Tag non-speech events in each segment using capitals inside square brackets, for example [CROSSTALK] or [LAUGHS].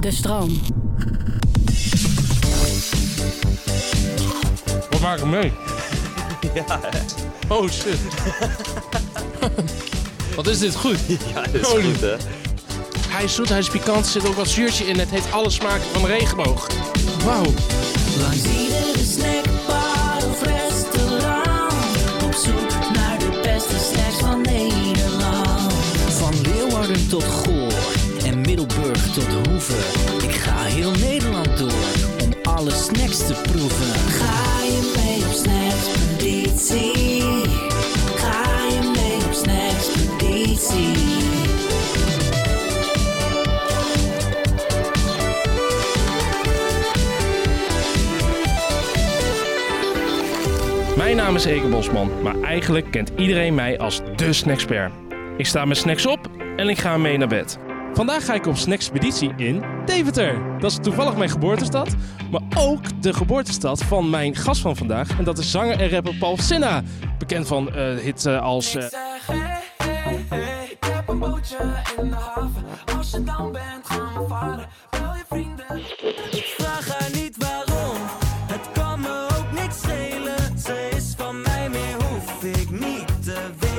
De stroom. We waren [LAUGHS] mee. Oh shit. Wat is dit goed? Ja, dat is Holy. goed, hè? Hij is zoet, hij is pikant, er zit ook wat zuurtje in. Het heeft alle smaken van regenboog. Wauw. Langs iedere snackbar of restaurant Op zoek naar de beste snacks van Nederland Van Leeuwarden tot Goor en Middelburg tot Hoeve. Ik ga heel Nederland door om alle snacks te proeven. Ga je mee op snackspeditie? Ga je mee op snackspeditie? Mijn naam is Eke Bosman, maar eigenlijk kent iedereen mij als de snackspert. Ik sta mijn snacks op en ik ga mee naar bed. Vandaag ga ik op snackspeditie in Deventer. Dat is toevallig mijn geboortestad, maar ook de geboortestad van mijn gast van vandaag. En dat is zanger en rapper Paul Senna. Bekend van eh, hits eh, als... eh, zeg hey, hey, hey, ik heb een bootje in de haven. Als je dan bent, gaan we varen. Bel je vrienden. Ik vraag haar niet waarom, het kan me ook niks schelen. Ze is van mij, meer hoef ik niet te weten.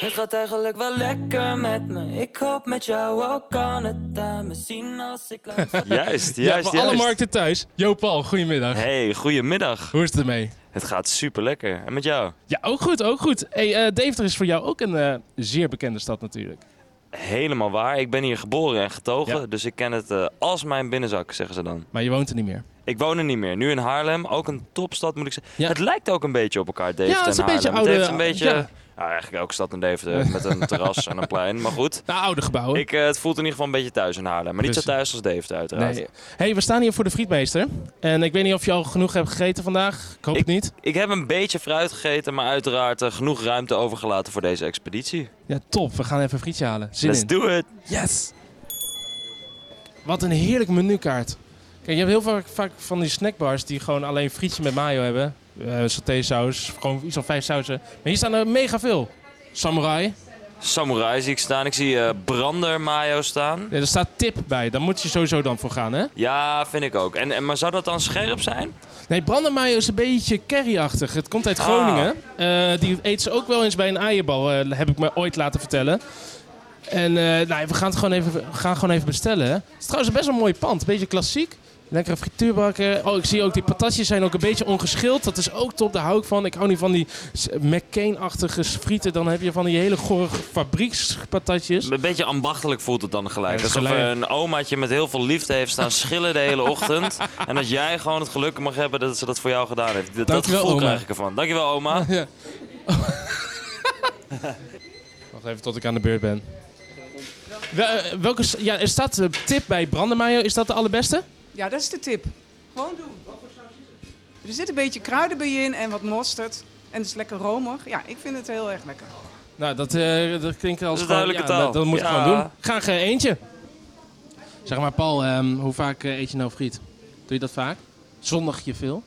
Het gaat eigenlijk wel lekker met me. Ik hoop met jou ook kan het aan me zien als ik langs Juist, juist, Ja, juist. voor alle markten thuis. Jo Paul, goedemiddag. Hey, goedemiddag. Hoe is het ermee? Het gaat super lekker. En met jou? Ja, ook goed, ook goed. Hey, eh, Deventer is voor jou ook een eh, zeer bekende stad natuurlijk. Helemaal waar. Ik ben hier geboren en getogen, Ja. dus ik ken het eh, als mijn binnenzak, zeggen ze dan. Maar je woont er niet meer. Ik woon er niet meer. Nu in Haarlem, ook een topstad moet ik zeggen. Ja. Het lijkt ook een beetje op elkaar, Deventer Ja, het is en een beetje Haarlem. Het heeft oude- een beetje... ja. Nou, eigenlijk elke stad in Deventer [LAUGHS] met een terras en een plein. Maar goed, Nou, oude gebouwen. ik, eh, het voelt in ieder geval een beetje thuis in Haarlem. Maar niet zo Precies. thuis als Deventer, uiteraard. Nee. Hey, we staan hier voor de frietmeester. En ik weet niet of je al genoeg hebt gegeten vandaag. Ik hoop het niet. Ik heb een beetje fruit gegeten, maar uiteraard eh, genoeg ruimte overgelaten voor deze expeditie. Ja, top. We gaan even een frietje halen. Zin Let's in. do it! Yes! Wat een heerlijk menukaart. Kijk, je hebt heel vaak, vaak van die snackbars die gewoon alleen frietje met mayo hebben. Eh satésaus, gewoon iets van vijf sausen. Maar hier staan er mega veel. Samurai. Samurai zie ik staan. Ik zie eh, brander mayo staan. Nee, er staat tip bij. Daar moet je sowieso dan voor gaan, hè? Ja, vind ik ook. En, en, maar zou dat dan scherp zijn? Nee, brandermayo is een beetje curryachtig. Het komt uit Groningen. Eh, die eet ze ook wel eens bij een eierbal, eh, heb ik me ooit laten vertellen. En eh, nou, we gaan het gewoon even, we gaan gewoon even bestellen. hè. Het is trouwens best wel een mooi pand. Beetje klassiek. Lekkere frituurbakken. Oh, ik zie ook die patatjes zijn ook een beetje ongeschild. Dat is ook top, daar hou ik van. Ik hou niet van die s- McCain-achtige frieten. Dan heb je van die hele gorige fabriekspatatjes. Een beetje ambachtelijk voelt het dan gelijk. Ja, Alsof gelijk. een omaatje met heel veel liefde heeft staan schillen de hele [LAUGHS] ochtend. en dat jij gewoon het geluk mag hebben dat ze dat voor jou gedaan heeft. Dat, dat Dankjewel, gevoel oma. krijg ik ervan. Dankjewel oma. Wacht even tot ik aan de beurt ben. Wel- eh, Welke, s- ja, er staat eh, tip bij brandermayo. Is dat de allerbeste? Ja, dat is de tip. Gewoon doen. Er zit een beetje kruiden bij in en wat mosterd. En het is lekker romig. Ja, ik vind het heel erg lekker. Nou, dat, eh, dat klinkt als Dat is gewoon- duidelijke ja, taal. Dat, dat moet je Ja. gewoon doen. Graag eh, eentje. Zeg maar, Paul, ehm, hoe vaak eh, eet je nou friet? Doe je dat vaak? Zondag je veel?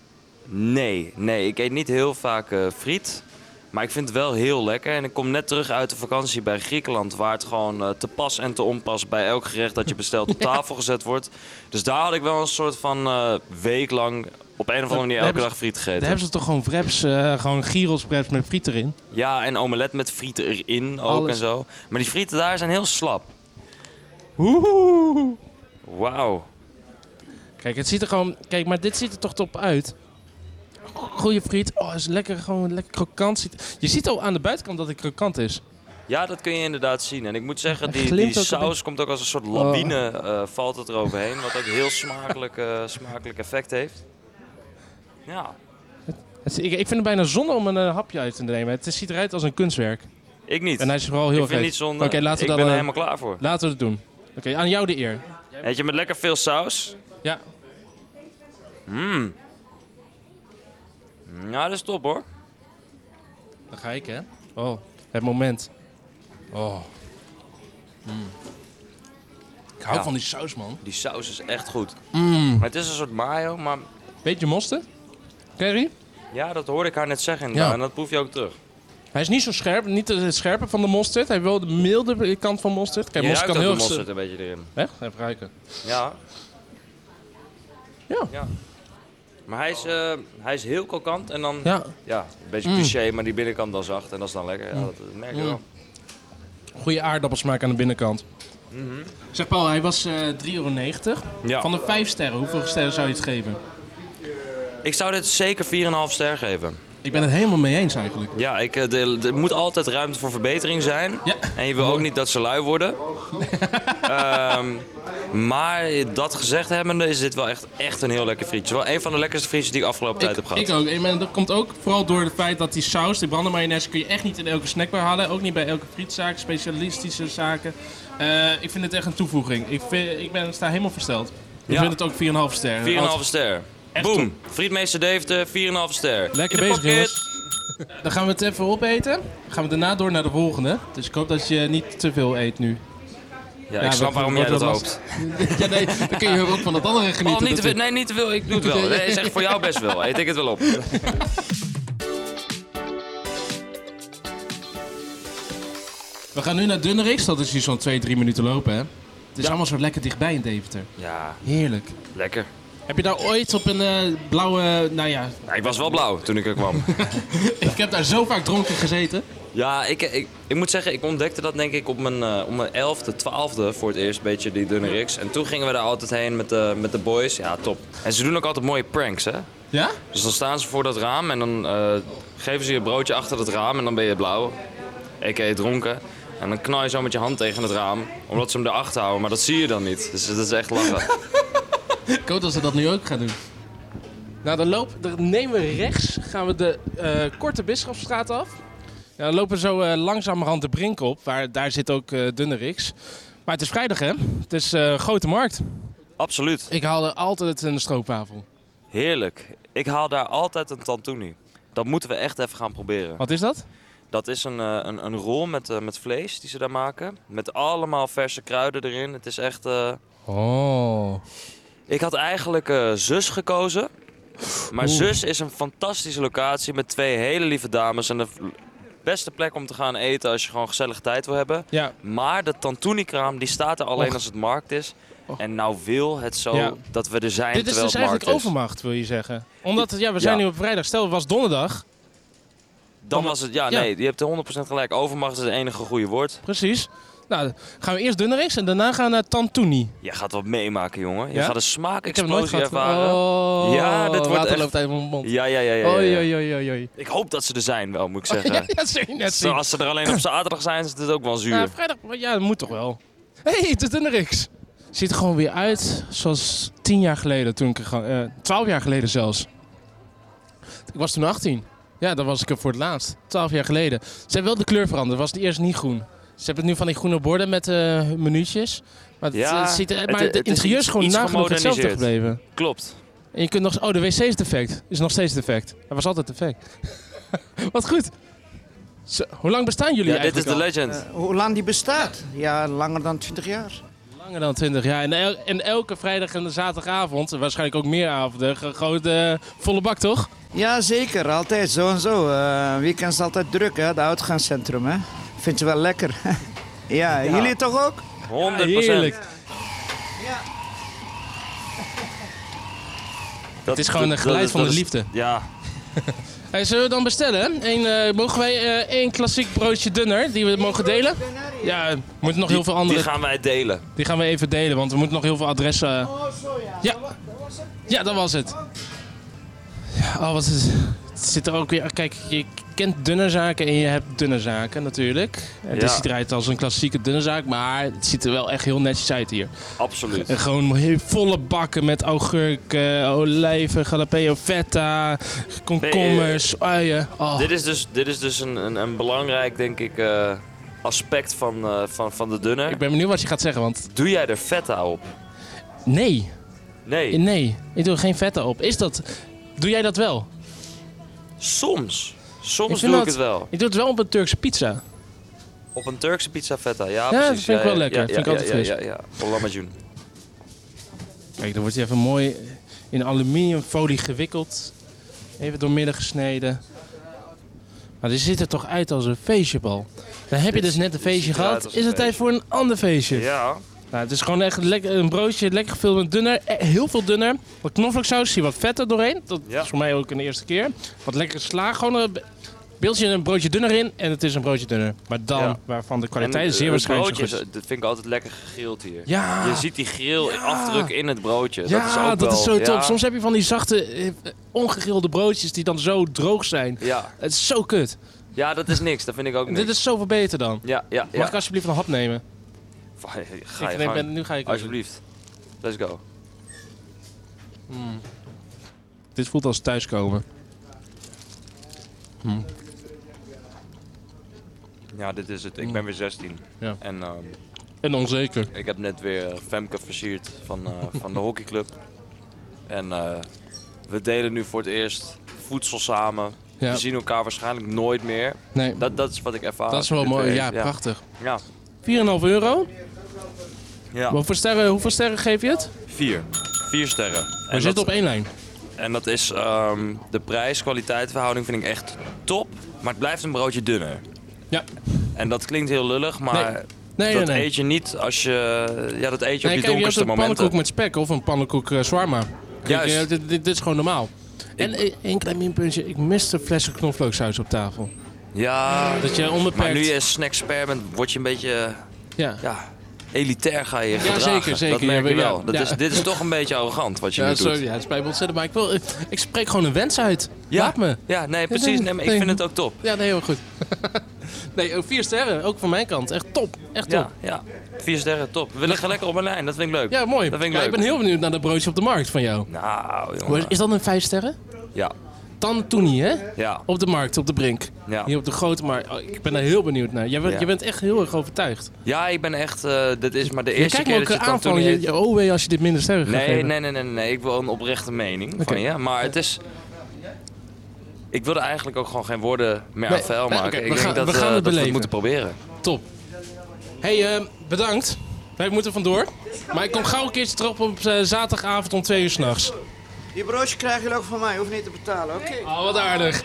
Nee, nee, ik eet niet heel vaak eh, friet. Maar ik vind het wel heel lekker. En ik kom net terug uit de vakantie bij Griekenland. Waar het gewoon eh, te pas en te onpas bij elk gerecht dat je [LAUGHS] bestelt op tafel gezet wordt. Dus daar had ik wel een soort van eh, week lang op een of andere manier Daar elke hebben ze- dag friet gegeten. Daar hebben ze toch gewoon wraps, eh, gewoon gyros wraps met friet erin? Ja, en omelet met frieten erin ook Alles. en zo. Maar die frieten daar zijn heel slap. Oeh. Wauw. Kijk, het ziet er gewoon. Kijk, maar dit ziet er toch top uit. Goeie friet. Oh, is lekker gewoon lekker krokant. Ziet- Je ziet al aan de buitenkant dat het krokant is. Ja, dat kun je inderdaad zien. En ik moet zeggen, Het Oh. die, glimt die ook een saus komt ook als een soort lawine, eh, valt het eroverheen. Wat ook heel smakelijk, eh, smakelijk effect heeft. Ja, Het is- Ik, ik vind het bijna zonde om een eh, hapje uit te nemen. Het ziet eruit als een kunstwerk. ik niet. En hij is vooral heel ik vind vet. niet zonde. Oké, laten we ik dan, ben eh, er helemaal klaar voor. Laten we het doen. Oké, aan jou de eer. Eet je met lekker veel saus? Ja. Mmm. Ja, dat is top hoor. Dan ga ik, hè? Oh, het moment. Oh. Mm. Ik hou Ja. van die saus, man. Die saus is echt goed. Mm. Maar het is een soort mayo, maar Beetje mosterd? Kerry? ja, dat hoorde ik haar net zeggen. Ja. En dat proef je ook terug. Hij is niet zo scherp, niet het scherpe van de mosterd. Hij heeft wel de milde kant van mosterd. Kijk, je mosterd ruikt kan ook heel de erg... mosterd een beetje erin. Echt? Even ruiken. Ja. Ja. Maar hij is, eh, hij is heel krokant en dan... Ja, Ja, een beetje Mm. cliché, maar die binnenkant dan zacht en dat is dan lekker. Ja, dat, dat merk je Mm. wel. goede aardappelsmaak aan de binnenkant. Zeg Paul, hij was eh 3,90 euro. Mhm. Ja. Van de 5 sterren, hoeveel sterren zou je het geven? Ik zou dit zeker 4,5 ster geven. Ik ben het helemaal mee eens eigenlijk. Ja, ik, eh, de- de- er moet altijd ruimte voor verbetering zijn. Ja. En je wil ook niet dat ze lui [LAUGHS] worden. Ehm, maar dat gezegd hebbende is dit wel echt, echt een heel lekker frietje. Wel een van de lekkerste frietjes die ik afgelopen tijd heb Ik, gehad. ik ook. Ik ben- dat komt ook vooral door het feit dat die saus, die brandenmayonaise, kun je echt niet in elke snackbar halen. Ook niet bij elke frietzaak, specialistische zaken. Eh, ik vind het echt een toevoeging. Ik, vind, ik ben, sta helemaal versteld. Ik Ja. vind het ook 4,5 sterren. 4,5 ster. Echt Boom. Frietmeester Deventer, 4,5 ster. Lekker In de bezig, jongens. Dan gaan we het even opeten. Dan gaan we daarna door naar de volgende. Dus ik hoop dat je niet te veel eet nu. Ja, Ja, ik snap dat waarom jij wordt wel dat hoopt. Ja, nee, dan kun je ook van dat andere Oh, genieten. niet te veel. natuurlijk. Nee, niet te veel. Ik doe het wel. Nee, is echt voor jou best wel. Eet ik het wel op. We gaan nu naar Dunnerix. Dat is hier zo'n 2, 3 minuten lopen, hè? Het is allemaal zo lekker dichtbij in Deventer. Ja, Heerlijk. lekker. Heb je daar ooit op een eh, blauwe... Nou ja, Ja, ik was wel blauw toen ik er kwam. ik heb daar zo vaak dronken gezeten. Ja, ik, ik, ik moet zeggen, ik ontdekte dat denk ik op mijn, eh, op mijn 11e, 12e voor het eerst een beetje die dunne riks. En toen gingen we daar altijd heen met de, met de boys. Ja, top. En ze doen ook altijd mooie pranks, hè? Ja? Dus dan staan ze voor dat raam en dan eh, geven ze je broodje achter dat raam en dan ben je blauw. A.k.a. dronken. En dan knal je zo met je hand tegen het raam, omdat ze hem erachter houden. Maar dat zie je dan niet. Dus dat is echt lachen. Ik hoop dat ze dat nu ook gaan doen. Nou, dan, loop, dan nemen we rechts, gaan we de eh, korte Bisschopsstraat af. Ja, dan lopen we zo eh, langzamerhand de Brink op, waar, daar zit ook eh Dunnerix. Maar het is vrijdag, hè? Het is eh, grote markt. [LAUGHS] Absoluut. Ik haal er altijd een stroopwafel. Heerlijk. Ik haal daar altijd een tantuni. Dat moeten we echt even gaan proberen. Wat is dat? Dat is een, eh, een, een rol met, eh, met vlees die ze daar maken. Met allemaal verse kruiden erin. Het is echt. eh, Oh. Ik had eigenlijk eh, zus gekozen. Maar Oeh. zus is een fantastische locatie met twee hele lieve dames. En de v- beste plek om te gaan eten als je gewoon gezellig tijd wil hebben. Ja, Maar de Tantuni-kraam die staat er alleen Och. als het markt is. Och. En nou wil het zo Ja. dat we er zijn dit is terwijl dus het markt eigenlijk is. overmacht, wil je zeggen. Omdat, ja, we zijn Ja. nu op vrijdag. Stel, het was donderdag. Dan was het, ja, Ja. nee, je hebt er 100% gelijk. Overmacht is het enige goede woord. Precies. Nou, dan gaan we eerst Dunnerix en daarna gaan we naar Tantuni. Je gaat wat meemaken, jongen. Je Ja? gaat een Ik heb het nooit smaakexplosie gehad. ervaren. Oh, Ja, dit wordt water echt- loopt uit mijn mond. Ja, ja, ja, ja. ja, Oei, ja. oei, oei, oei, oei. Ik hoop dat ze er zijn wel, moet ik zeggen. Ja, dat zul je net Zo, zien. als ze er alleen op zaterdag zijn, is het ook wel zuur. Ja, vrijdag, ja, dat moet toch wel. Hé, hey, het is Dunnerix. Ziet er gewoon weer uit zoals tien jaar geleden, toen ik er gewoon, eh, twaalf jaar geleden zelfs. Ik was toen 18. Ja, dan was ik er voor het laatst. Twaalf jaar geleden. Ze hebben wel de kleur veranderd. Was het eerst niet groen. Ze hebben het nu van die groene borden met eh minuutjes. Maar het, Ja, eh, ziet er, het- maar het, het is interieur is iets- gewoon iets nagenoeg hetzelfde gemoderniseerd. gebleven. Klopt. En je kunt nog... Oh, de wc is defect. Is nog steeds defect. Hij was altijd defect. [LAUGHS] Wat goed. Zo, hoe lang bestaan jullie Ja, dit is eigenlijk de al? legend. Eh, hoe lang die bestaat? Ja, langer dan 20 jaar. Langer dan 20 jaar. En, el- en elke vrijdag en zaterdagavond, en waarschijnlijk ook meer avonden, ge- gewoon de volle bak toch? Ja, zeker. Altijd zo en zo. Eh weekend is altijd druk, hè? Het uitgaanscentrum, hè? Vind je wel lekker. [LAUGHS] ja, jullie toch ook? 100%. oh, Heerlijk. Dat, Het is gewoon een geluid van de liefde. Ja, Hey, zullen we dan bestellen? Eén, eh, mogen wij eh één klassiek broodje dunner die we mogen delen? Ja, Ja, er moeten nog heel veel andere... Die gaan wij delen. Die gaan we even delen, want we moeten nog heel veel adressen... eh. Oh, Ja, ja dat was het. Ja, Oh, wat is... Het zit er ook weer... Kijk, je kent dunne zaken en je hebt dunne zaken natuurlijk. Het Ja. is ziet eruit als een klassieke dunne zaak, maar het ziet er wel echt heel netjes uit hier. Absoluut. En gewoon heel volle bakken met augurken, olijven, jalapeno feta, komkommers, uien. Oh, Dit is dus, dit is dus een, een, een belangrijk, denk ik, eh, aspect van, eh, van, van de dunner. ik ben benieuwd wat je gaat zeggen, want Doe jij er feta op? nee, Nee. nee, ik doe er geen feta op. Is dat... Doe jij dat wel? Soms. Ik Soms vind doe ik dat- het wel. Ik doe het wel op een Turkse pizza. Op een Turkse pizza feta. Ja, dat precies. vind ik wel lekker. Ja, Vind ik ja, altijd ja, fris. Ja, ja, ja. Voor lammetjoen. Kijk, dan wordt hij even mooi in aluminiumfolie gewikkeld. Even doormidden gesneden. Maar dit ziet er toch uit als een feestjebal. Dan heb je dus net een dit feestje ziet eruit gehad. als Is een het tijd voor een ander feestje? Ja. Nou, het is gewoon echt lekker, een broodje, lekker gevuld met dunner. eh, Heel veel dunner. Wat knoflooksaus, hier wat vet er doorheen. Dat Ja. is voor mij ook een eerste keer. Wat lekkere sla, gewoon een be- beeldje en een broodje dunner in. En het is een broodje dunner. Maar dan, Ja. waarvan de En eh, kwaliteit het- zeer het waarschijnlijk zo broodje goed is- Dat vind ik altijd lekker gegrild hier. is. Ja, Je ziet die grill afdruk in het broodje. ja, Dus dat is, ook wel- zo ja. top. Soms heb je van die zachte, eh, ongegrilde broodjes die dan zo droog zijn. Ja. Het is zo kut. ja, dat is niks. Dat vind ik ook niks. Dit is zoveel beter dan. Ja, ja, ja. Mag ik alsjeblieft een hap nemen? Ga je gang. ik neem, ben- nu ga ik. Alsjeblieft. Let's go. Dit voelt als thuiskomen. Ja, dit is het. Ik ben weer 16. Mm. Ja. En ehm, En onzeker. ik heb net weer eh, Femke versierd van, [LAUGHS] eh, van de hockeyclub. En eh, we delen nu voor het eerst voedsel samen. Ja. We zien elkaar waarschijnlijk nooit meer. Nee, dat, Dat, dat is wat ik ervaar. is wel Dit mooi. weer Ja, eens. prachtig. 4,5 Ja. euro. ja. Hoeveel sterren, hoeveel sterren geef je het? Vier. Vier sterren. We dat- zitten op één lijn. En dat is ehm, de prijs-kwaliteit verhouding vind ik echt top. Maar het blijft een broodje dunner. Ja. En dat klinkt heel lullig, maar Nee. Nee, nee, dat nee. eet je niet als je... Ja, dat eet je nee, op kijk, je die hebt donkerste een momenten. pannenkoek met spek of een pannenkoek eh shawarma. Kijk, Juist. eh, dit, dit- dit is gewoon normaal. En eh, één klein minpuntje. Ik miste flessen knoflooksaus op tafel. Ja, Dat je onbeperkt... maar nu je snacksper bent, word je een beetje... eh, Ja. Ja, elitair ga je gedragen. zeker, zeker. Dat merk Ja, je ja, wel. Dat ja. Is, dit is toch een beetje arrogant wat je Ja, nu doet. sorry, ja, het spijt me ontzettend, maar ik, wil, ik, ik spreek gewoon een wens uit. Ja, Laat me. Ja, nee, precies. nee, Nee, maar ik nee. vind het ook top. Ja, nee, heel goed. [LAUGHS] nee, ook vier sterren, ook van mijn kant. Echt top, echt top. Ja, ja. Vier sterren, top. We liggen lekker op een lijn, dat vind ik leuk. Ja, mooi. Dat vind ik Ja, leuk. ik ben heel benieuwd naar dat broodje op de markt van jou. Nou, Hoe jongen. is- Is dat een vijf sterren? Ja, Dan toen niet, hè? ja, Op de markt, op de brink. ja. Hier op de grote markt. Oh, ik ben daar heel benieuwd naar. Jij bent, Ja. je bent echt heel erg overtuigd. Ja, ik ben echt. eh dit is maar de Je eerste kijkt me keer ook dat je aan van, Tantoni je, heet. je oh wee als je dit minder sterren gaat Nee, geven. nee, nee, nee, nee. Ik wil een oprechte mening Oké. van je. Maar het is. Ik wilde eigenlijk ook gewoon geen woorden meer Nee, aan vuil nee, maken. oké, ik we denk gaan- dat, we gaan eh, het dat we beleven. Oh. het moeten proberen. Top. hey, eh, bedankt. Wij moeten vandoor. Maar ik kom gauw een keertje terug op eh, zaterdagavond om twee uur s'nachts. Je broodje krijgen jullie ook van mij, hoef niet te betalen, oké? Oh, wat aardig.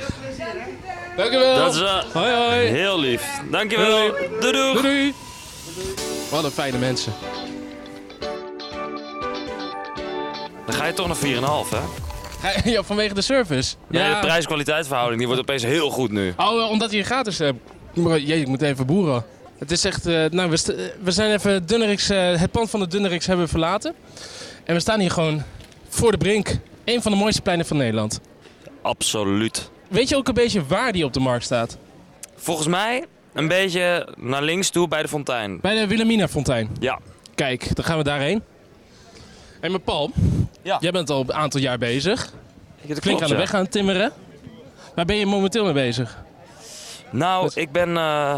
Dankjewel. Dat is eh, Hoi, hoi. heel lief. Dankjewel. Doei doei. Doei, doei. Wat een fijne mensen. Dan ga je toch naar 4,5 hè? [LAUGHS] Ja, vanwege de service. Nee, de prijs-kwaliteit verhouding die wordt opeens heel goed nu. Oh, eh, omdat je gratis hebt. Maar, jee, ik moet even boeren. Het is echt... eh, nou, we, st- eh, we zijn even Dunnerix, eh, het pand van de Dunnerix hebben we verlaten. En we staan hier gewoon voor de brink. Een van de mooiste pleinen van Nederland. Absoluut. Weet je ook een beetje waar die op de markt staat? Volgens mij een beetje naar links toe bij de fontein. Bij de Wilhelmina Fontein. Ja. Kijk, dan gaan we daarheen. Hé, maar Paul. Ja. Jij bent al een aantal jaar bezig. Flink Flink aan de weg gaan timmeren. Waar ben je momenteel mee bezig? Nou, Met- ik ben eh,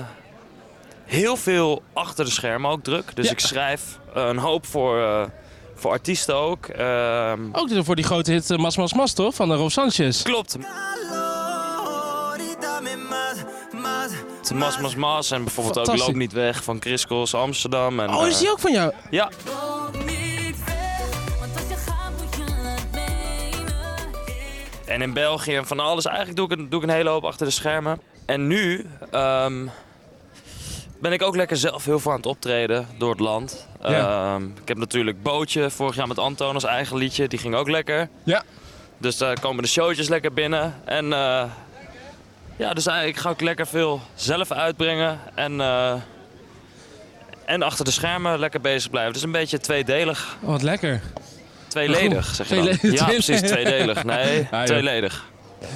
heel veel achter de schermen ook druk. Dus Ja. ik schrijf eh, een hoop voor, eh, voor artiesten ook. Ehm, Ook voor die grote hit eh, Mas Mas Mas, toch? Van eh, Rolf Sanchez. Klopt. Mas Mas Mas en bijvoorbeeld ook Fantastisch. Loop Niet Weg van Chris Cross Amsterdam. En, Oh, eh, is die ook van jou? Ja, en in België en van alles. Eigenlijk doe ik, een, doe ik een hele hoop achter de schermen. En nu ehm, ben ik ook lekker zelf heel veel aan het optreden door het land. Ja. Ehm, ik heb natuurlijk Bootje vorig jaar met Anton als eigen liedje. Die ging ook lekker. Ja. Dus daar komen de showtjes lekker binnen. En eh, ja, dus eigenlijk ga ik lekker veel zelf uitbrengen. En eh, En achter de schermen lekker bezig blijven. Dus een beetje tweedelig. Oh, wat lekker. Maar [LAUGHS] Tweeledig, goed, zeg je dan. tweeledig. Ja, precies, tweedelig. Nee, [LAUGHS] Ah, joh. tweeledig.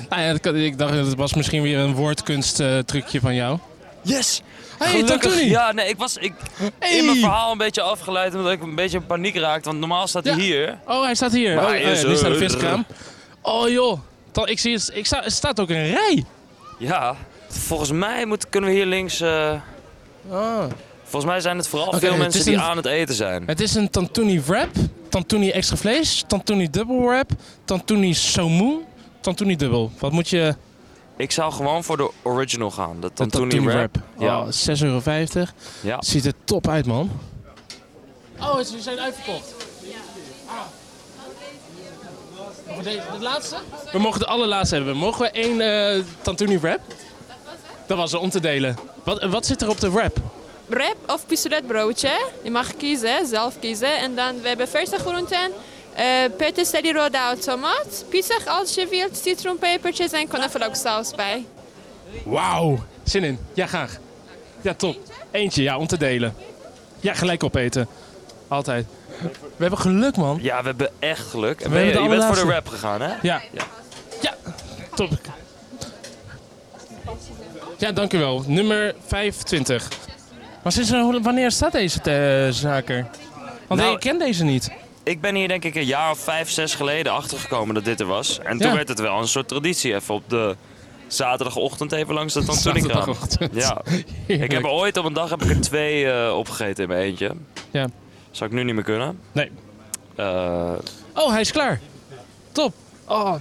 Nou ja, dat kan- ik dacht dat het was misschien weer een woordkunst eh, trucje van jou. Yes! Hey, Gelukkig. Tantuni! Ja, nee, ik was ik, Hey! in mijn verhaal een beetje afgeleid omdat ik een beetje in paniek raakte. Want normaal staat hij Ja. hier. Oh, hij staat hier. Maar oh, hij oh is, ja, die staat de eh, viskraam. Oh joh, Dan- ik zie, het- ik sta, er staat ook een rij. Ja, volgens mij moet, kunnen we hier links... eh, Volgens mij zijn het vooral Ah. Oké, veel het mensen is die een- aan het eten zijn. Het is een tantuni wrap, tantuni extra vlees, tantuni dubbel wrap, tantuni somoe, tantuni dubbel. Wat moet je... Ik zou gewoon voor de original gaan. De Een Tantuni wrap. Ja, Ja. 6,50 Oh, euro. ja. Ziet er top uit, man. Oh, ze zijn uitverkocht. Voor deze, de laatste? We mogen de allerlaatste hebben. Mogen we één eh tantuni wrap? Dat was er om te delen. Wat, wat zit er op de wrap? wrap of pistoletbroodje. Je mag kiezen, hè, zelf kiezen. En dan we hebben verse groenten. eh peterselie, rode tomaat. Pizza als je wilt, citroenpepertjes en knoflooksaus bij. Wauw. Zin in. Ja, graag. Ja, top. Eentje, ja, om te delen. Ja, gelijk opeten. Altijd. We hebben geluk, man. ja, we hebben echt geluk. En We ben je, hebben de je bent voor de allerlaatste. rap gegaan, hè? Ja. Ja. Ja, top. Ja, dank u wel. Nummer 25. Maar sinds hoe- wanneer staat deze eh, zaker? Want Nou, ik ken deze niet. Ik ben hier denk ik een jaar of vijf, zes geleden achtergekomen dat dit er was. En toen Ja. werd het wel een soort traditie. Even op de zaterdagochtend even langs de Tantuni gaan. Zaterdagochtend. Ja. Ik Heerlijk. heb er ooit op een dag heb ik er twee eh, opgegeten in mijn eentje. Ja. Zou ik nu niet meer kunnen. Nee. Eh, Oh, hij is klaar. Top. Oh.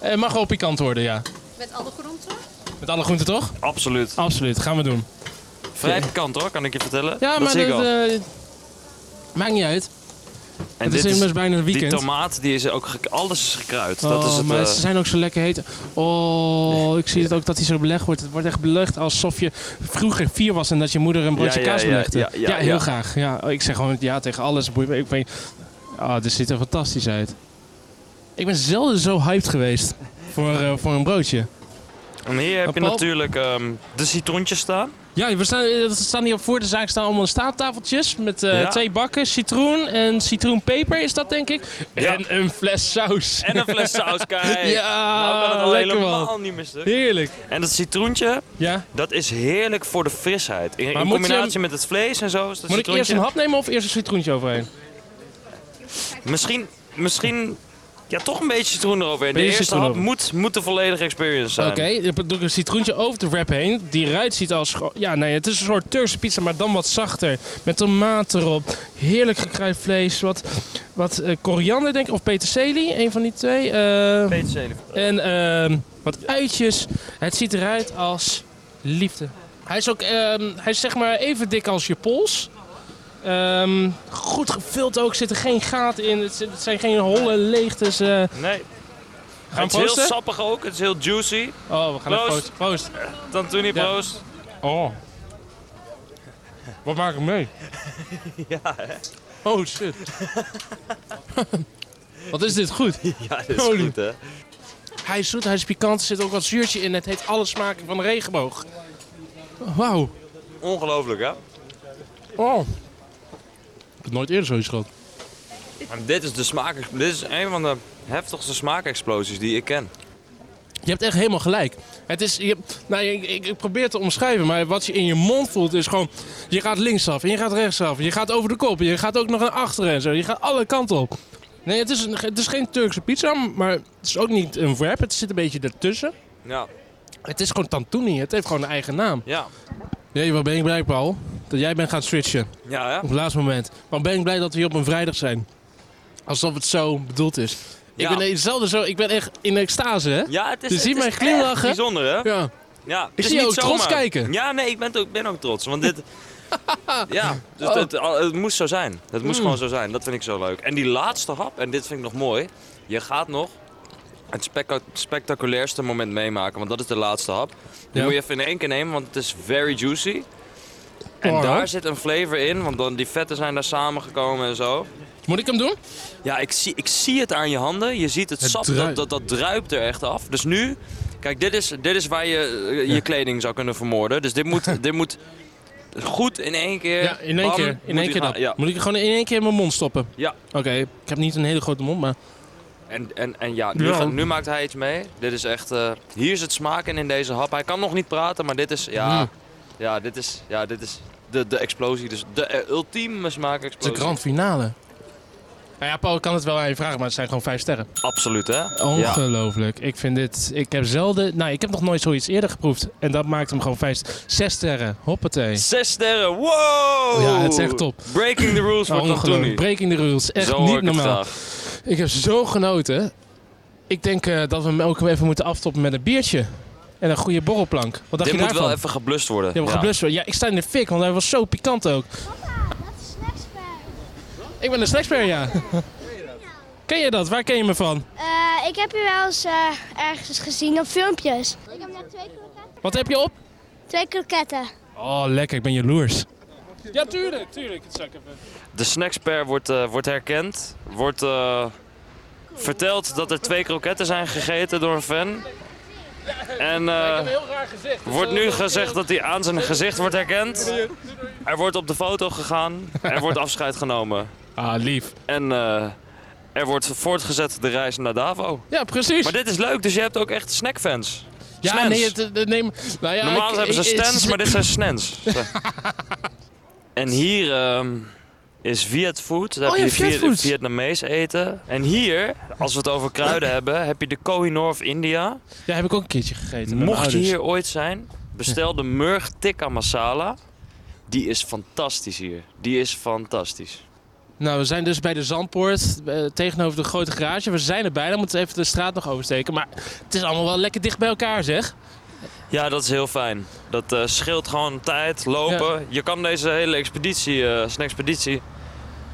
Eh, mag wel pikant worden, ja. Met alle groenten? Met alle groenten, toch? absoluut. Absoluut, gaan we doen. Vrij pikant hoor, kan ik je vertellen. Ja, dat maar zie ik dat al. eh, maakt niet uit. en het is immers bijna een weekend. Die tomaat, die is ook gek- alles is gekruid. dat Oh, is het, maar eh, ze zijn ook zo lekker heet. Oh, ik zie het ook dat hij zo belegd wordt. Het wordt echt belegd alsof je vroeger vier was en dat je moeder een broodje Ja, ja, kaas ja, belegde. ja, ja, heel ja. graag. Ja, ik zeg gewoon ja tegen alles. Boeit me- Ik weet, ah, dit ziet er fantastisch uit. Ik ben zelden zo hyped geweest voor, eh, voor een broodje. En hier heb je Paul? natuurlijk ehm, de citroentjes staan. Ja, we staan, eh, we staan hier op voor de zaak staan allemaal staattafeltjes met eh, Ja. twee bakken citroen en citroenpeper is dat denk ik. Ja. En een fles saus. En een fles [LAUGHS] saus, kijk. Ja, nou kan het al lekker helemaal man. niet meer stuk. Heerlijk. En dat citroentje, Ja. dat is heerlijk voor de frisheid. In, in Maar moet je- combinatie met het vlees en zo is dat Moet ik eerst citroentje... een hap nemen of eerst een citroentje overheen? Misschien, misschien ja, toch een beetje citroen eroverheen. De Beetje eerste citroen hap over. moet, moet de volledige experience zijn. Oké, dan doe ik een citroentje over de wrap heen. Die eruit ziet als... scho- Ja, nee, het is een soort Turkse pizza, maar dan wat zachter. Met tomaat erop. Heerlijk gekruid vlees. Wat, wat eh, koriander, denk ik. Of peterselie, een van die twee. Eh, Peterselie. en ehm, wat uitjes. Het ziet eruit als liefde. Hij is ook ehm, hij is zeg maar even dik als je pols. Ehm, goed gevuld ook, zit er geen gaten in. Het zit- het zijn geen holle leegtes. eh. Nee. Gaan het we is heel proosten? sappig ook, het is heel juicy. Oh, we gaan even Proost. proosten. Proost. Dan toen die Ja. proost. Oh. Wat maak ik mee? [LAUGHS] ja, Oh, [LAUGHS] shit. Wat is dit goed? Ja, dat is Holy. goed hè. Hij is zoet, hij is pikant, er zit ook wat zuurtje in. Het heeft alle smaken van de regenboog. Wauw. Ongelooflijk hè. Oh. Ik heb nooit eerder zoiets gehad. En dit is de smaak, dit is een van de heftigste smaakexplosies die ik ken. Je hebt echt helemaal gelijk. Het is, je, nou, ik, ik, ik probeer het te omschrijven, maar wat je in je mond voelt is gewoon... Je gaat linksaf en je gaat rechtsaf. Je gaat over de kop en je gaat ook nog naar achteren en zo. Je gaat alle kanten op. Nee, het is, een- het is geen Turkse pizza, maar het is ook niet een wrap. Het zit een beetje ertussen. Ja, Het is gewoon tantuni. Het heeft gewoon een eigen naam. ja. Jee, wat ben ik blij, Paul. Dat jij bent gaan switchen Ja, hè? op het laatste moment. Wat ben ik blij dat we hier op een vrijdag zijn. Alsof het zo bedoeld is. Ja. Ik ben eh, hetzelfde zo... Ik ben echt in extase, hè? Ja, het is, Je het ziet is mij glimlachen. echt bijzonder, hè? ja. Ja, het Ik is zie niet jou ook trots zomaar. kijken. Ja, nee, ik ben ook, ben ook trots. [LAUGHS] Want dit. ja, dus Oh. Mm. het, al- het moest zo zijn. Het moest gewoon zo zijn. Dat vind ik zo leuk. En die laatste hap, en dit vind ik nog mooi. Je gaat nog het spectac- spectaculairste moment meemaken. Want dat is de laatste hap. Die Ja. moet je even in één keer nemen, want het is very juicy. En Oh. daar zit een flavor in, want dan die vetten zijn daar samengekomen en zo. Moet ik hem doen? Ja, ik zie, ik zie het aan je handen. Je ziet het, Het sap, druipt. dat, dat, dat druipt er echt af. Dus nu, [LAUGHS] kijk, dit is, dit is waar je eh, je kleding zou kunnen vermoorden. Dus dit moet, dit moet Goed in één keer. Ja, in één bam, keer. In moet één hij keer gaan- dat. Ja. Moet ik er gewoon in één keer in mijn mond stoppen? Ja. Oké, ik heb niet een hele grote mond, maar... En, en, en ja, nu, Ja. gaat- nu maakt hij iets mee. Dit is echt... eh, hier zit smaak in in deze hap. Hij kan nog niet praten, maar dit is... Ja, Mm. ja dit is, ja, dit is de, de explosie. Dus de eh, ultieme Het is smaakexplosie. een grand finale. Nou ja, Paul ik kan het wel aan je vragen, maar het zijn gewoon vijf sterren. Absoluut, hè? Ja. Ongelooflijk. Ik vind dit... Ik heb zelden... Nou, ik heb nog nooit zoiets eerder geproefd. En dat maakt hem gewoon vijf... Zes sterren. Hoppatee. Zes sterren, wow! Oh Ja, het is echt top. Breaking the rules voor Nou, Ongelooflijk. Tantoni. Breaking the rules. Echt Zo hoor niet ik het normaal. graag. Ik heb zo genoten. Ik denk eh, dat we hem ook even moeten aftoppen met een biertje. En een goede borrelplank. Wat dacht Dit je moet daarvan? wel even geblust worden. Je hebt Ja. geblust. hoor. Ja, ik sta in de fik, want hij was zo pikant ook. Ik ben een snacksper, ja. Ken je dat? Waar ken je me van? Eh, ik heb je wel eens eh, ergens gezien op filmpjes. Ik heb net twee, Wat heb je op? twee kroketten. Oh, lekker. Ik ben jaloers. Ja, tuurlijk, tuurlijk. De snacksper wordt, eh, wordt herkend. Wordt eh, verteld dat er twee kroketten zijn gegeten door een fan. En eh, raar gezicht. wordt nu gezegd dat hij aan zijn gezicht wordt herkend. Er wordt op de foto gegaan. Er wordt afscheid genomen. Ah, lief. En eh, er wordt voortgezet de reis naar Davo. Ja, precies. Maar dit is leuk, dus je hebt ook echt snackfans. Ja, Snans. nee, het, het- neem... Nou ja, Normaal ik- hebben ze ik- het stands, is- maar dit zijn [LAUGHS] snans. en hier ehm, is Viet Food. Daar Oh heb ja, je Viet Viet- Food. Vietnamees eten. En hier, als we het over [LAUGHS] kruiden hebben, heb je de Kohinoor of India. Ja, heb ik ook een keertje gegeten. met mijn Mocht je ouders. hier ooit zijn, bestel de Murg Tikka Masala. Die is fantastisch hier. Die is fantastisch. Nou, we zijn dus bij de Zandpoort, eh, tegenover de grote garage. We zijn er bijna, moeten we even de straat nog oversteken. Maar het is allemaal wel lekker dicht bij elkaar, zeg. Ja, dat is heel fijn. Dat eh, scheelt gewoon tijd, lopen. Je kan deze hele expeditie, eh snackspeditie,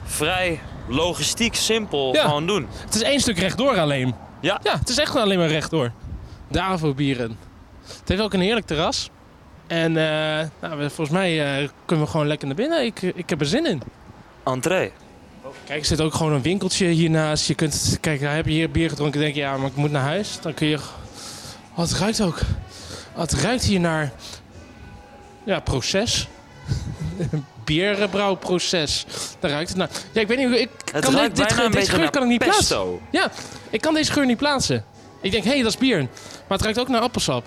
vrij logistiek simpel Ja. gewoon doen. Het is één stuk rechtdoor alleen. Ja. Ja, het is echt alleen maar rechtdoor. De Avo-bieren. Het heeft ook een heerlijk terras. En eh, nou, we- volgens mij eh, kunnen we gewoon lekker naar binnen. Ik, ik heb er zin in. Entree. Kijk, er zit ook gewoon een winkeltje hiernaast. Je kunt, kijk, daar heb je hier bier gedronken. denk je, ja, maar ik moet naar huis. Dan kun je... Oh, het ruikt ook. Oh, het ruikt hier naar... Ja, proces. [LAUGHS] Bierenbrouwproces. Daar ruikt het naar. Ja, ik weet niet hoe... Ik Het kan ruikt dit, bijna dit, deze een beetje geur naar kan ik niet pesto. plaatsen. Ja, ik kan deze geur niet plaatsen. Ik denk, hé, hey, dat is bier. Maar het ruikt ook naar appelsap.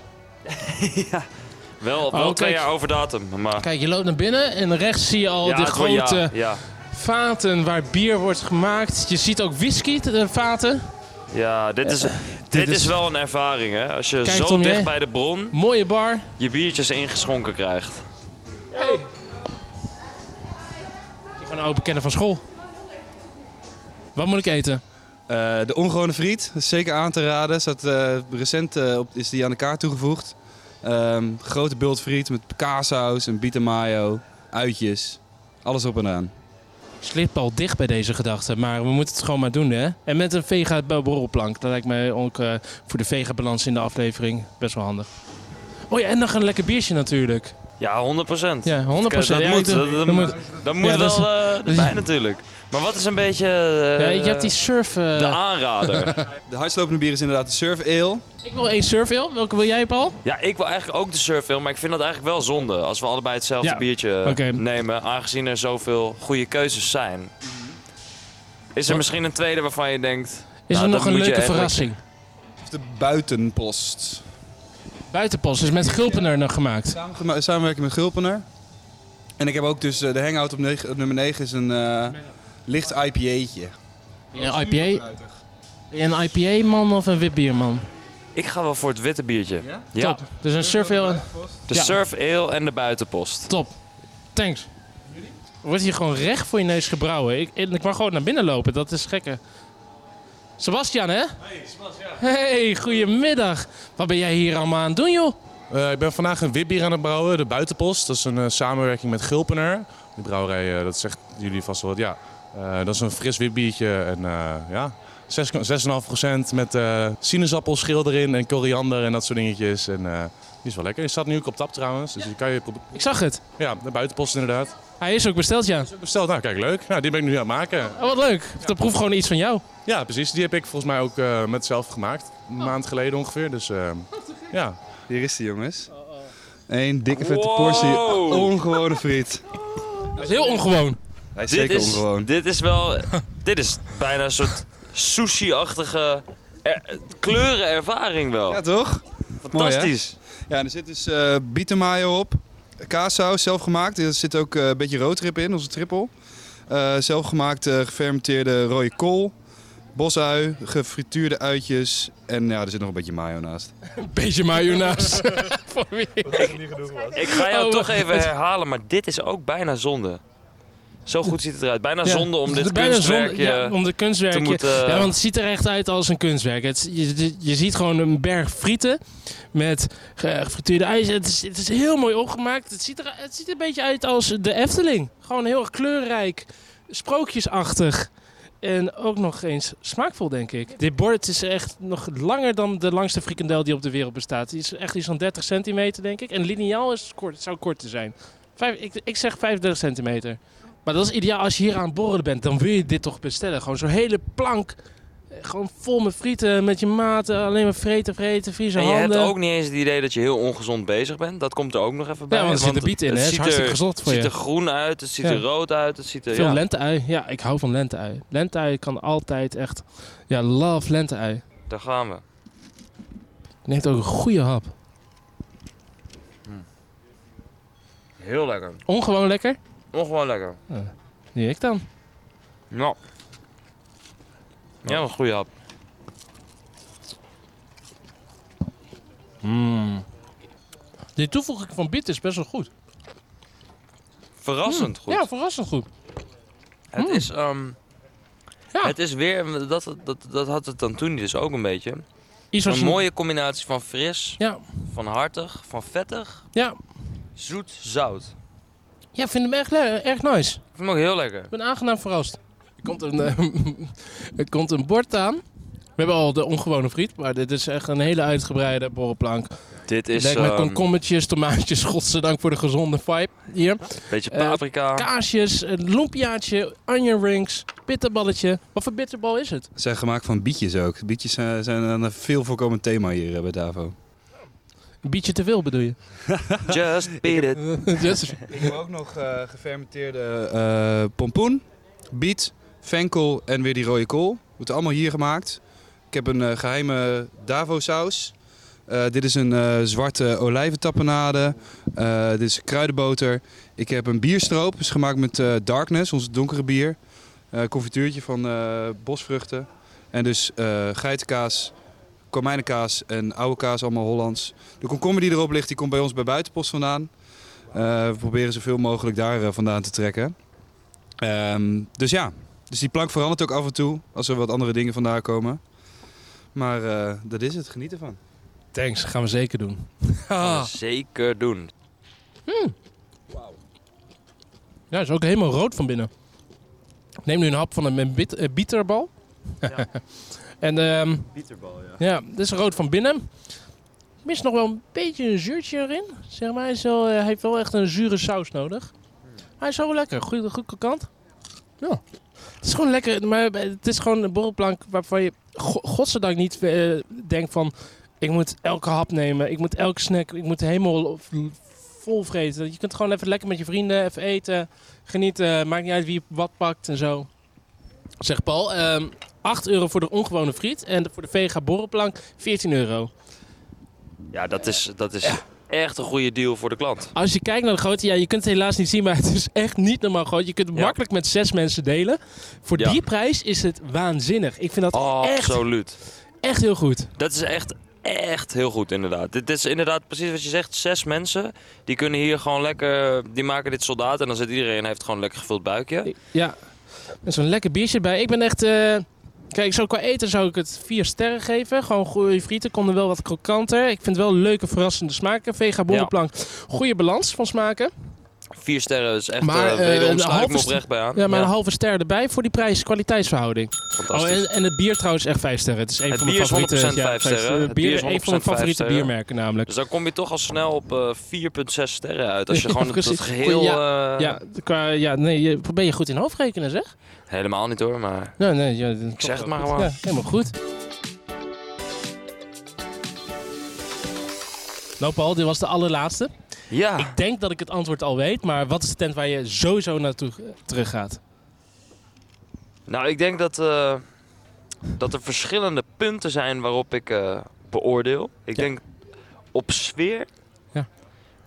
Wel, Oh, wel twee kijk. jaar over datum, maar... Kijk, je loopt naar binnen en rechts zie je al de het wordt- grote... Ja, ja, Vaten waar bier wordt gemaakt. Je ziet ook whisky eh, vaten. ja, dit is, eh, dit is wel een ervaring, hè. Als je Kijkt zo om je dicht heen. bij de bron Mooie bar. je biertjes ingeschonken krijgt. Gewoon een oude bekende van school. Wat moet ik eten? Eh, de ongewone friet, dat is zeker aan te raden. Zat, eh, recent eh, op, is die aan de kaart toegevoegd. Ehm, grote bult friet met kaassaus en bieten mayo, uitjes. Alles op en aan. Slip al dicht bij deze gedachte, maar we moeten het gewoon maar doen, hè? En met een vega borrelplank. Dat lijkt mij ook eh, voor de vega balans in de aflevering best wel handig. Oh ja, en nog een lekker biertje natuurlijk. Ja, 100 procent. Ja, 100%. Dat Ja, moet, ik- dat, dat dat moet, moet- dat Ja, moet dat is- wel eh, erbij natuurlijk. Maar wat is een beetje... eh, Ja, je hebt die surf... eh, De [LAUGHS] aanrader. de hardslopende bier is inderdaad de surf ale. Ik wil één surf ale. Welke wil jij, Paul? Ja, ik wil eigenlijk ook de surf ale, maar ik vind dat eigenlijk wel zonde. Als we allebei hetzelfde Ja. biertje Oké. nemen, aangezien er zoveel goede keuzes zijn. Is er misschien een tweede waarvan je denkt... Is nou, er dat nog een moet je leuke eigenlijk- verrassing? Of de buitenpost. Buitenpost is met Gulpener nog gemaakt. Gema- Samenwerking met Gulpener. En ik heb ook dus eh, de hangout op, negen- op nummer 9 is een eh, licht IPA'tje. Een IPA. Een IPA-man of een witbierman? Ik ga wel voor het witte biertje. Ja? Top. Dus een surf ale. De Ja. surf ale en de buitenpost. Top. Thanks. Wordt hier gewoon recht voor je neus gebrouwen. Ik, ik mag gewoon naar binnen lopen, dat is gekke. Sebastian, hè? Hey, goedemiddag. Wat ben jij hier allemaal aan het doen, joh? Eh, ik ben vandaag een witbier aan het brouwen, de Buitenpost. Dat is een eh, samenwerking met Gulpener. Die brouwerij, eh, dat zegt jullie vast wel wat. Ja, Eh, dat is een fris witbiertje. En eh ja, 6 6,5% met eh sinaasappelschil erin en koriander en dat soort dingetjes. En eh, die is wel lekker. Die staat nu ook op tap trouwens. Dus die kan je probe- Ik zag het. Ja, de Buitenpost inderdaad. Hij is ook besteld, ja. Besteld, nou kijk, leuk. Nou, die ben ik nu aan het maken. Oh, wat leuk. Dan proef gewoon iets van jou. Ja, precies. Die heb ik volgens mij ook eh, Oh. met zelf gemaakt. Een maand geleden ongeveer. Dus eh, ja. Hier is die jongens. Eén dikke vette portie ongewone friet. Dat is heel ongewoon. Hij is dit zeker is, ongewoon. Dit is wel... [LAUGHS] dit is bijna een soort sushi-achtige er, kleurenervaring wel. Ja, toch? Mooi, hè? Fantastisch. ja, en er zit dus eh bietenmayo op. Kaassaus, zelfgemaakt. Er zit ook eh, een beetje roodtrip in, onze trippel. Eh, zelfgemaakt eh, gefermenteerde rode kool. Bosui, gefrituurde uitjes. En ja, er zit nog een beetje mayo naast. Een beetje [LAUGHS] mayonaise. Ik ga jou Oh, toch wacht. even herhalen, maar dit is ook bijna zonde. Zo goed ziet het eruit. Bijna Ja, zonde om het dit is bijna zonde, kunstwerkje... ja, om dit kunstwerkje. te moeten- eh, Ja, want het ziet er echt uit als een kunstwerk. Het, je, je- je ziet gewoon een berg frieten met eh, gefrituurde ijs. Het is, het is heel mooi opgemaakt. Het ziet, er, het ziet er een beetje uit als de Efteling. Gewoon heel erg kleurrijk, sprookjesachtig. En ook nog eens smaakvol, denk ik. Dit bord is echt nog langer dan de langste frikandel die op de wereld bestaat. Die is echt iets van 30 centimeter, denk ik. En lineaal is kort, zou korter zijn. Vijf, ik, ik zeg 35 centimeter. Maar dat is ideaal als je hier aan het borrelen bent. Dan wil je dit toch bestellen. Gewoon zo'n hele plank. eh, Gewoon vol met frieten, met je maten. Alleen maar vreten, vreten, vriezen En je handen. hebt ook niet eens het idee dat je heel ongezond bezig bent. Dat komt er ook nog even bij. want er zit een biet in, het hè. Het is ziet hartstikke er- gezond voor Het je. ziet er groen uit, het ziet Ja. er rood uit, het ziet er... Veel ja. lente-ui. Ja, ik hou van lente-ui. Lente-ui kan altijd echt... Ja, love lente-ui. Daar gaan we. Neemt ook een goede hap. Heel lekker. Ongewoon lekker. Ongewoon lekker. Nu ik dan. Ja. Ja, een goede hap. Mm. De toevoeging van biet is best wel goed. Verrassend Mm. goed. Ja, verrassend goed. Het Mm. is... ehm, Het is weer... Dat, dat, dat had het dan toen dus ook een beetje. Iets wat een je- mooie combinatie van fris, Ja. van hartig, van vettig, Ja. zoet, zout. Ja, ik vind hem echt, le- erg nice. Ik vind hem ook heel lekker. Ik ben aangenaam verrast. Er komt een, eh, [LAUGHS] er komt een bord aan. We hebben al de ongewone friet, maar dit is echt een hele uitgebreide borrelplank. Dit is, Lekker met ehm, komkommetjes, tomaatjes, [LAUGHS] godzijdank voor de gezonde vibe hier. Beetje Eh, paprika. kaasjes, een lumpiaatje, onion rings, bitterballetje. Wat voor bitterbal is het? Ze zijn gemaakt van bietjes ook. Bietjes eh, zijn een veel voorkomend thema hier eh, bij Davo. Een bietje te veel bedoel je? Just beat it. Just- Ik heb ook nog eh, gefermenteerde eh, pompoen, biet, venkel en weer die rode kool. Wordt allemaal hier gemaakt. Ik heb een eh, geheime Davo-saus. Eh, dit is een eh, zwarte olijventappenade. Eh, dit is kruidenboter. Ik heb een bierstroop. is gemaakt met eh, Darkness, ons donkere bier. Eh confituurtje van eh, bosvruchten. En dus eh geitenkaas, komijnenkaas en oude kaas, allemaal Hollands. De komkommer die erop ligt, die komt bij ons bij Buitenpost vandaan. Eh, we proberen zoveel mogelijk daar eh, vandaan te trekken. Ehm, dus ja, dus die plank verandert ook af en toe als er wat andere dingen vandaan komen. Maar eh, dat is het, geniet ervan. Thanks, gaan we zeker doen. Ah. Gaan we Zeker doen. Ja, is ook helemaal rood van binnen. Ik neem nu een hap van een bit, eh, bieterbal. [LAUGHS] en, ehm Bieterbal, ja. Ja, dit is rood van binnen. Mist nog wel een beetje een zuurtje erin. Zeg maar, hij, is wel, eh, hij heeft wel echt een zure saus nodig. Hmm. Hij is wel lekker, goed, goed krokant. Ja. Het is gewoon lekker, maar het is gewoon een borrelplank waarvan je go- godzijdank niet eh, denkt van... Ik moet elke hap nemen, ik moet elke snack, ik moet helemaal vol vreten. Je kunt gewoon even lekker met je vrienden even eten, genieten. eh, Maakt niet uit wie wat pakt en zo. Zegt Paul, ehm 8 euro voor de ongewone friet en voor de vega borrelplank 14 euro. Ja, dat is, dat is echt een goede deal voor de klant. Als je kijkt naar de grootte, ja, je kunt het helaas niet zien, maar het is echt niet normaal groot. Je kunt het makkelijk met zes mensen delen. Voor Ja. Oh, die prijs is het waanzinnig. Ik vind dat Oh, echt, Absoluut. echt heel goed. Dat is echt, echt heel goed inderdaad. Dit is inderdaad precies wat je zegt. Zes mensen, die kunnen hier gewoon lekker... Die maken dit soldaat en dan zit iedereen... heeft gewoon een lekker gevuld buikje. Ja, en zo'n lekker biertje erbij. Ik ben echt... eh, Kijk, zo qua eten zou ik het vier sterren geven. Gewoon goede frieten, konden wel wat krokanter. Ik vind wel leuke, verrassende smaken. Vega borrelplank, goede balans van smaken. Vier sterren is echt... Maar, Maar, eh, een ik me halve oprecht bij aan. Ja, maar Oh, een halve ster erbij voor die prijs-kwaliteitsverhouding. Fantastisch. en, en het bier trouwens echt vijf sterren. Het is een Het van mijn bier is 100% favoriete, ja, vijf sterren. Het bier is één een van mijn favoriete biermerken namelijk. Dus dan kom je toch al snel op eh, 4,6 sterren [LAUGHS] uit. Als je gewoon het, het Precies. geheel... Ja, eh, ja, qua, ja, nee, je, ben je goed in hoofdrekenen zeg? Helemaal niet hoor, maar... Nee, nee. Ja, Ik zeg het maar goed. gewoon. Ja, helemaal goed. Nou Paul, dit was de allerlaatste. Ja. Ik denk dat ik het antwoord al weet, maar wat is de tent waar je sowieso naartoe eh, terug gaat? Nou, ik denk dat, eh, dat er verschillende punten zijn waarop ik eh, beoordeel. Ik denk op sfeer. Ja.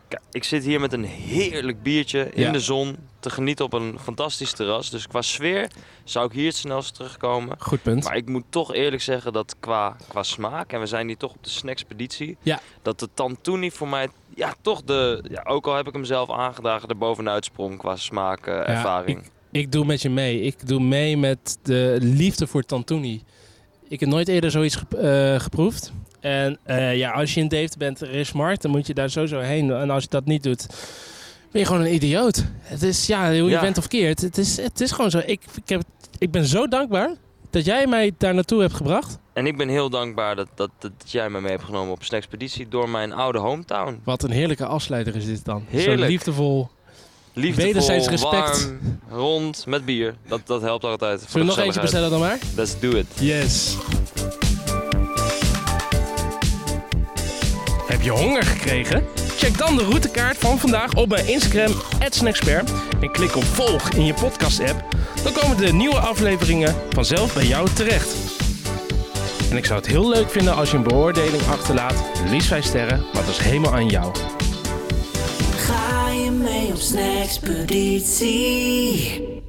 Kijk, ik zit hier met een heerlijk biertje in Ja. de zon te genieten op een fantastisch terras. Dus qua sfeer zou ik hier het snelst terugkomen. Goed punt. [LAUGHS] Maar ik moet toch eerlijk zeggen dat qua, qua smaak, en we zijn hier toch op de snackspeditie, Ja. dat de tantuni voor mij ja, toch de, ja, ook al heb ik hem zelf aangedragen, er bovenuit sprong qua smaak, eh, Ja, ervaring. ik, ik doe met je mee. Ik doe mee met de liefde voor Tantuni. Ik heb nooit eerder zoiets gep- eh, geproefd. En eh, ja, als je in Dave bent, er is markt, dan moet je daar sowieso heen. En als je dat niet doet, ben je gewoon een idioot. Het is, ja, hoe je Ja. bent of keert. Het is, het is gewoon zo. Ik, ik, heb, ik ben zo dankbaar dat jij mij daar naartoe hebt gebracht. En ik ben heel dankbaar dat, dat, dat jij me mee hebt genomen op een expeditie door mijn oude hometown. Wat een heerlijke afsluiter is dit dan. Zo Heerlijk. liefdevol. Liefdevol, Wederzijds respect. warm, rond, met bier. Dat, dat helpt altijd. voor Zullen we de nog eentje gezelligheid. bestellen dan maar? Let's do it. Yes. Heb je honger gekregen? Check dan de routekaart van vandaag op mijn Instagram, @snackspert en klik op volg in je podcast-app. Dan komen de nieuwe afleveringen vanzelf bij jou terecht. En ik zou het heel leuk vinden als je een beoordeling achterlaat. Liefst 5 sterren, maar dat is helemaal aan jou. Ga je mee op snackspeditie?